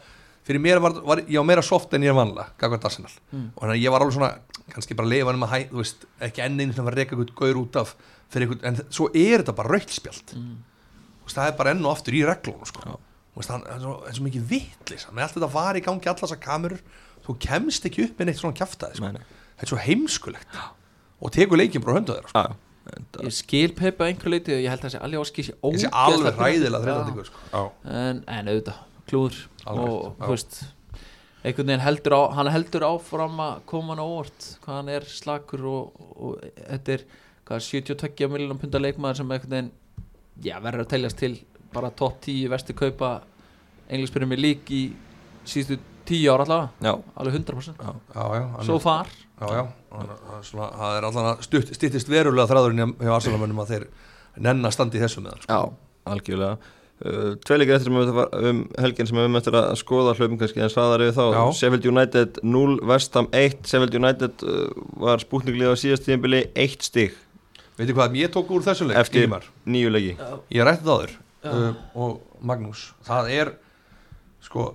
fyrir mér var, var ég á meira soft en ég er vanlega, gagvart Arsenal Og þannig að ég var alveg svona, kannski bara að leifa hann að hæ, þú veist, ekki enn einu svona að reka eitthvað gaur út af fyrir eitthvað En svo er þetta bara rauðspjald mm. Það er bara enn og aftur í reglunum, sko Þú veist, hann- það er svo, það er svo mikið vitlis, með allt þetta var í gangi allas að kamur, þú kemst ekki upp með neitt svona kjaftaði, sko
Nei, nei.
þetta er svo heimskulegt og tekur leikinn bara á hönda þeirra sko.
Já, þetta-
Ég skil Pepe að einhver leiti og ég held að þessi alveg áskil sé
þessi
ógeðslega
alveg
pirrandi.
ræðilega
Já.
þreytandi sko. Já.
en, en auðvitað, klúður
Alveg,
og
já.
þú veist einhvern veginn heldur á, hann heldur áfram að koma hann á óvart, hvað hann er slakur og, og þetta er hvað, 72 miljonar punda leikmaður sem einhvern veginn, já, verður að teljast til bara top 10 vestu kaupa englispyrjum er lík í síðustu 10 ára allavega,
já,
alveg 100%
Já, já, hann
so
er-
far,
já, já, hann er- hann er svona- það er allan að stutt, stittist verulega þræðurinn hjá Arsenalmönnum að þeir nenn að standa í þessu með hann sko.
já, algjörlega Uh, Tveilegir eftir sem við höfum um helgin sem við höfum eftir að skoða hlaupum kannski en svaðar yfir þá,
Já.
Sheffield United 0, Vestham 1, Sheffield United uh, var spútninglið á síðast tíðanbili 1 stig
veitir hvað ég tók úr þessu leik
eftir
Ingimar?
nýju leiki
Eh,
ég rætti það áður
Já.
um, og Magnús það er sko,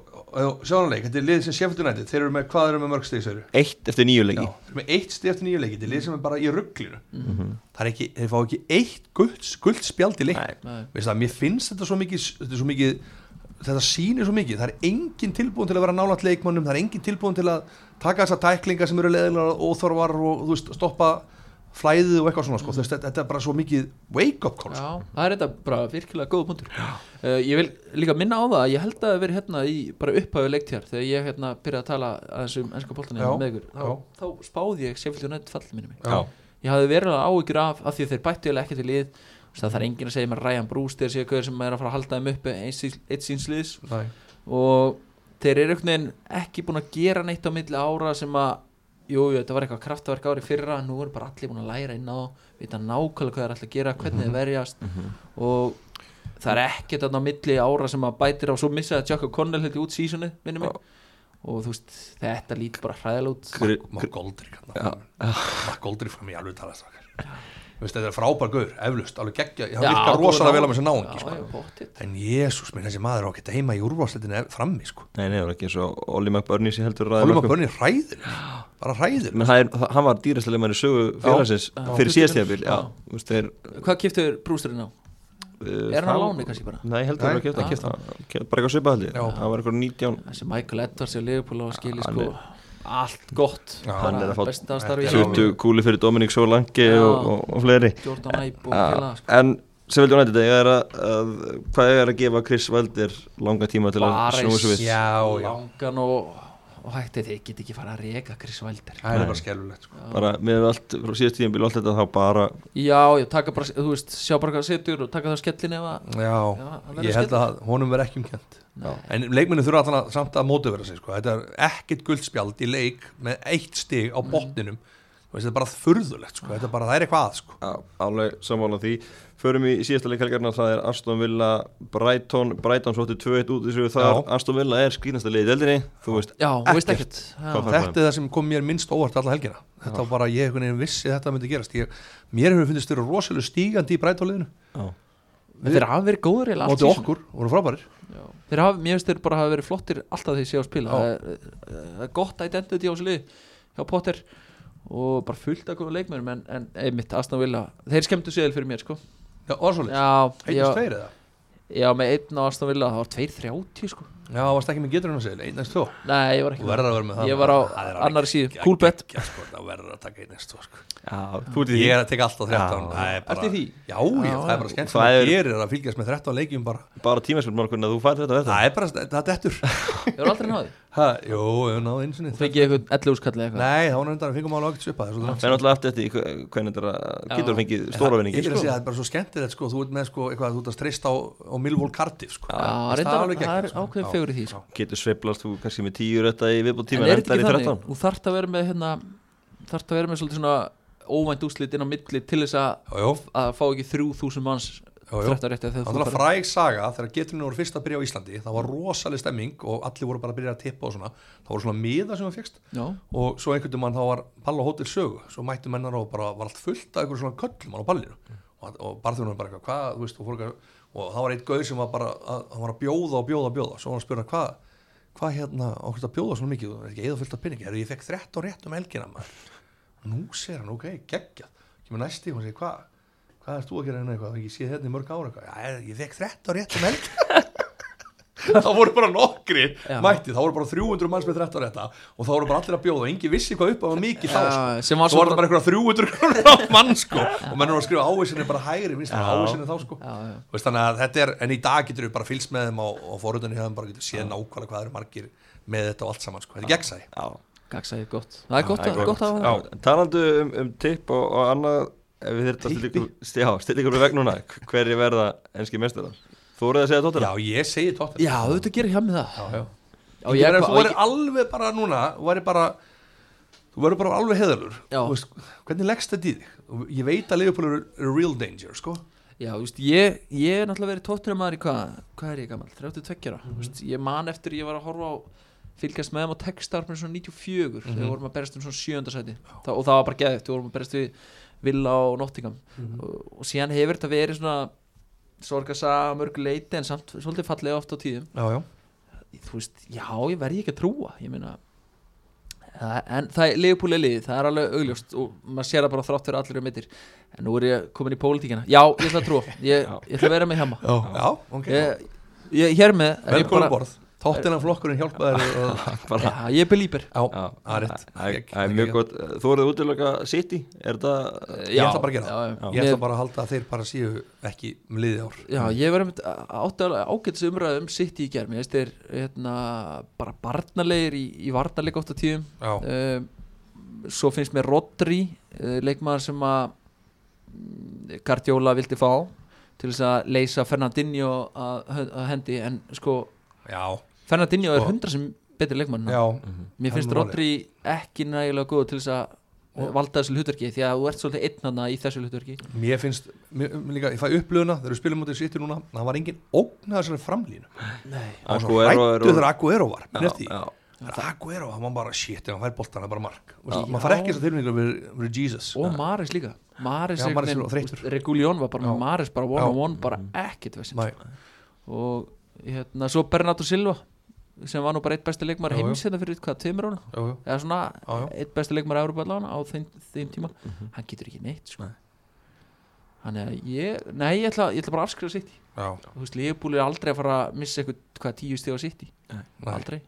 sjónuleik, þetta er lið sem Sheffield United þeir eru með, hvað eru með mörg stig, segirðu?
1 eftir nýju
Já,
leiki
þeir eru með eitt stig eftir nýju leiki, þetta er lið sem er bara í rugglinu
Mhm.
það er ekki, þeir fá ekki eitt guld, guld spjald í leik
Nei,
Nei.
Veist það, mér finnst þetta svo mikið þetta, er svo mikið, þetta sýnir svo mikið það er engin tilbúin til að vera nálægt leikmannum það er engin tilbúin til að taka þessa tæklinga sem eru leðilega óþorvar og þú veist, stoppa flæðið og eitthvað svona sko. mm. veist, þetta, þetta er bara svo mikið wake up call sko.
Já, það er þetta bara virkilega góð punktur uh, Ég vil líka minna á það að ég held að það hafi verið hérna í bara upphæfu leiktjár þegar ég hérna byrjaði að tala aðeins um ennska boltan
Já,
með ykkur,
já.
þá, þá spáði ég Sheffield United fallið minni mig
Já.
Ég hafði verið áhyggjur af, af því að þeir bættu eða ekki til lið þú veist, það þarf enginn að segja með Ryan Bruce þegar séu hver sem er að fara að halda þeim uppi eins síns- eitt síns liðs
Nei.
og þeir eru einhvern veginn ekki búin að gera neitt á milli ára sem að jú, jú, þetta var eitthvað kraftverk ári fyrra nú eru bara allir búin að læra inn á það, vita nákvæmlega hvað þeir ætla að gera, hvernig
Mhm.
þeir verjast og það er ekkert þarna á milli ára sem að bætir á svo missa að Jakob Connell heldur út sísunni minni mig og þú veist, þetta lítur bara hræðilega út
Gr-
Mark Goldrick Mark Goldrick fram í alveg tala strákar Veist, þetta er frábær gaur, eflust, alveg geggja hann virkar rosalega vel á með sér náungi
já,
sko.
já, pottþétt.
en jésús minn, þessi maður á að geta heima í úrváðsleitinu frammi sko.
nei, nei, það var ekki eins og Olli McBurney sem heldur ræði
Hólum að
mörkum.
bönni hræðir bara hræðir
menn það er, það- hann var dýrastlega mann í sögu félagsins
Já.
fyrir
Já.
síðast tíðanbili já,
Já.
þú veist, þeir uh,
hvað kiptur brústurinn á?
Eh,
Er hann á láni kannski bara?
Nei, heldur
Nei.
hann að kefta,
Ah.
kefta bara eitthvað svipað held ég.
Já.
það var eitthvað 19
þessi Michael Edwards í Liverpool á að skilja
Hann
sko allt gott
Já,
Bara
hann er að fá
besta starfi í
Já.
20 kúli fyrir Dominik Solange
Já.
og, og, og fleiri
heimi, Jordan Ibe og
Já,
fjöla sko.
en sem vildi hún eitthvað ég er að, að hvað ég er að gefa Chris Valdir langa tíma til að
bara
snúa svo við
Já, já.
langan og, og hætti þið get ekki fara að reka Chris Wilder
Það er bara skelvulegt sko.
bara með allt frá síðast tíðan bíl allt þetta þá bara
já, ég taka bara, þú veist, sjá bara hvað setur og taka það skellin ef að
Já,
hann verður
ég held að honum verði ekki umkjönd En leikmennu þurfa allan að samt að móta vera sig sko. Þetta er ekkit guldspjald í leik með eitt stig á botninum Þú veist, Þetta er bara furðulegt sko. Þetta er bara, það er eitthvað að, sko.
Já, alveg sammála því förum í síðasta leikhelgarna það er Aston Villa Brighton, Brighton svo átti 2-1 út í sig þar,
Já.
Aston Villa er skýrnasta liðið deldinni, þú veist
já, hún veist ekkert já.
Hvað-
Þetta er það sem kom mér minnst óvart alla helgina Þetta var bara, ég einhvern veginn vissi að þetta myndi gerast ég, Mér hefur fundist þurfa rosalega stígandi í brætóliðinu
Já.
En Þeir hafa verið góður eiginlega allt
móti
season.
okkur, voru frábærir
Já. Þeir hafa, mér finnst þeir bara hafa verið flottir alltaf þegar ég sé á spila
Já.
það er, það er gott identity á þessu lið hjá Potter og bara fullt að góða leikmennum en, en einmitt Aston Villa, þeir skemmtu séðil fyrir mér sko
Já, og svolítið,
Já,
einnast
já,
tveir eða
já með einn á Aston Villa það var 2.30 sko
Já, varst ekki með getur hann að segja, einnast tvo
Nei, ég var
Þú
ekki
verður að vera með það
Ég var á
Það er alveg
annar síðu,
gegg-
cool bet
geggjað, sko, Það verður að taka einnast tvo sko.
Já, þú ert í
Ég
því
er að teka alltaf 13
Já.
Það er bara-
Ertu í því?
Já, já, það
Já,
er
já.
bara skemmt
Það
Það
er-
gerir að fylgjast með 13 leikjum bara
bara tímaspilmál hvernig að þú fært þetta þetta
Það er bara, það er dettur
Ég var aldrei náði
Ha, Jú, við náðum einu sinni
Þú fengið eitthvað 11 skall eða eitthvað
Nei, þá var hundar að fengum alveg ekkert svipað það er svo langt.
en alltaf eftir þetta í hve- hvernig þetta er að- getur þú fengið stóra
Ég
vinningi
vil að
sko.
segja, það er bara svo skemmtilegt sko, þú ert með sko, eitthvað, þú ert að streysta á, á Milvól Cardiff sko.
Já,
Það er
reyndar,
alveg gegn,
það er
sko.
ákveðin
Já,
fegur í því, sko.
já.
getur sveiflast þú kannski með tíu rötta í viðbútt tíma
en er
en
þetta
endar í
ekki þannig,
13
þú þarft að vera með hérna, þarft að vera með svolítið svona óvænt úslit inn á milli til þess að
Já, já,
að fá ekki 3000 manns
já, já.
13 rétti
Það var alveg fræg saga þegar geturinn voru fyrst að byrja á Íslandi það var rosaleg stemming og allir voru bara að byrja að tippa og svona það voru svona miða sem það fegst
Já,
og svo einhvern veginn þá var Palla Hotel sögu svo mættu mennar og bara var allt fullt af einhverjum svona köllum hann á pallinu og, og barþjónum bara eitthvað, hvað, þú veist, og, fór, eitthvað- og það var einn gauð sem var bara að, hann var að bjóða og bjóða og bjóða svo var hann að spyrja hvað, hvað hérna okkur að bjóða svona mikið, þú er ekki eða fullt af pinningi Heyrðu, ég fekk 13 rétt um helgina maður nú segir hann, ok, geggjað kemur næsti og hann segir, hvað hvað erst þú að gera hérna eitthvað, ég sé þetta í mörg ára eitthvað, já, ég fekk 13 rétt um helgina þá voru bara nokkri
Já.
mætti, þá voru bara 300 manns með 13 rétta og þá voru bara allir að bjóða og engi vissi hvað upp að var mikið þá, sko.
Já, sem var
svo var
svo
það bara einhverja 300 krónur á mann sko og menn eru að skrifa ávísinni bara hægri minnst
Já.
ávísinni þá sko
Já, já.
Veist, þannig að þetta er, en í dag getur við bara fylgst með þeim á, á forutinu hjá þeim bara getur séð nákvæmlega hvað eru margir með þetta og allt saman sko, þetta er gegnsæ
Já.
Gagsæði gott Það er gott,
Það
að,
er
gott að
Já, talandu um, um tipp og, og annað ef við þurfum að stilla
Tippi?
ykkur- sti- já, stilla ykkur við vegna núna hver- hverjir verða enski mestara þú voruð að segja tóttina
Já, ég segi tóttir
Já, þú veit að gera hjá mig það
já.
Já,
Ég,
ég,
meina,
ég,
þú verður alveg bara núna þú verður bara þú verður bara alveg heðalur
Já.
veist, hvernig leggst þetta í þig? Og Ég veit að Leopold eru er real danger sko
já, þú veist, ég, ég er náttúrulega verið tóttunum maður í hvað Hvað er ég gammal? 32 ára mm -hmm. Ég man eftir ég var að horfa á fylgjast með þeim á textarpinu svona 94 þegar vorum að berast um svona sjöndasæti Þa, og það var bara geðið, við vorum að berast við Villa og Nottingham og, og síðan hefur þetta verið svona sorgasa mörg leiti en samt svolítið fallega oft á tíðum
Já, já
þú veist, já, ég verði ekki að trúa ég meina það- en það er Leopold er liðið, það er alveg augljóst og maður sér það bara þrátt fyrir allir um mittir en nú er ég komin í pólitíkina já, ég ætla að trúa, ég, ég ætla að vera með hjama
Já, ok
ég, ég, hér með er ég
Velkomin
bara-
um borð Tóttina flokkurinn hjálpa þér að-
bara
já, ég er belíper
Já,
Já.
það er rétt
Það er-
Gegn-
það er
gegn-
mjög gott þú voruð að útilega City er það
Eh,
Ég ætla bara að gera það. Ég
Mér-
ætla bara að halda að þeir bara séu ekki um liðið ár
Já, ég var einmitt ágætis umræðum sitt í gerð, mér veist þeir hérna, bara barnalegir í, í varnarleik átt á tíðum
Já.
um, svo finnst mér Rodri uh, leikmaður sem að Gardiola vildi fá til þess að leysa Fernandinho að, að hendi en sko
Já,
Fernandinho er
Sko-
hundra sem betur leikmaður en hann.
já
mér finnst
hann er
Rodri ekki nægilega góð til þess að og. valda þessu hlutverki því að þú ert svolítið einn hana í þessu hlutverki
Mér finnst, mér, mér líka, ég fæ upplöðuna þegar við spilum út í sýttu núna, það var engin ógn að þessari framlínu
Nei
Það var svo
Aguero er-
hræddur þegar Aguero var
Já,
Mér eftir
já.
því Það er Aguero, það var bara shit, ef hann fær boltan, það er bara mark Þú
Já.
veist, Maður fær ekki þess að tilmynda við Jesus
og Maris líka Maris,
Já,
einhvern
Mahrez er
veginn,
þreyttur.
þú veist, Reguljón var bara með
Já. Mhm.
Maris bara one on one bara ekkit vesen.
Nei,
og hérna svo Bernardo Silva sem var nú bara eitt besti leikmar
Já, já.
heims hérna fyrir hvað, tveimur ána
jú, jú.
eða svona
Já, já.
eitt besti leikmar Európa allan á þeim, þeim tíma
Mhm.
hann getur ekki neitt sko.
Nei.
þannig að ég nei, ég ætla, ég ætla bara að afskrifa sitt
já,
þú veist, Leifbúl er aldrei að fara að missa eitthvað hvað, tíu stíð á sitt
nei
aldrei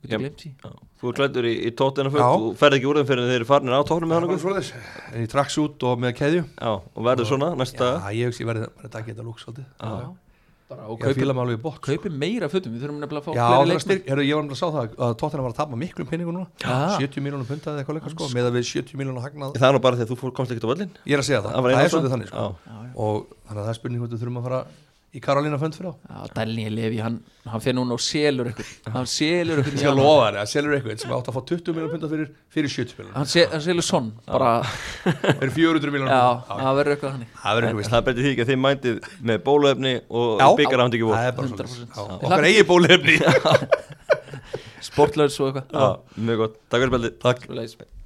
Þú
Ég-
getur glemt því
þú er klættur í, í tóttina
Já.
fullt þú ferð ekki úr þeim fyrir en þeir eru farinir á tóttina með
Það
hann
var
okkur
svoleiðis. En Ég traks út og með keðju
já, og verður svona næsta
Já,
dag
ég hugsi, ég verði bara að taka þetta lúk svolítið
Já.
Ég
bara, og
er að
kaupi,
fíla mig alveg í bók
kaupi meira fötum við þurfum nefnilega að fá
Já, það er
fleiri
að
leikmenn.
styrk, heru, ég var náttúrulega að sá það að Tottenham var að tapa miklum penningu núna
Já.
70 miljónum punta eða eitthvað leika sko með að við 70 miljónum hagnað
það er nú bara þegar þú fór- komst ekki á völlin
Ég er að segja það, það, er svolítið þannig sko.
já,
og þannig að það er spurning hvort við þurfum að fara í Karolína fund fyrir á
Já, Daniel Levi, hann, hann fyrir núna og selur ykkur hann selur ykkur
Ég skal lofa þér að selur eitthvað sem átt að fá 20 miljónum punta fyrir, fyrir 70 miljónum
hann, se, hann selur sonn bara,
fyrir 400
já,
miljónum punta Já,
það verður eitthvað þannig
Það
en
verður eitthvað veist
það betur því ekki að þið mæntið með bóluefni og
Já.
byggar ándi ekki
Það
vor
er bara
100%.
svolítið Já,
Ég
Okkar eigi bólefni
sportlaus og eitthvað
Já, mjög gott, takk fyrir spjaldið
Takk
Svoleiðis.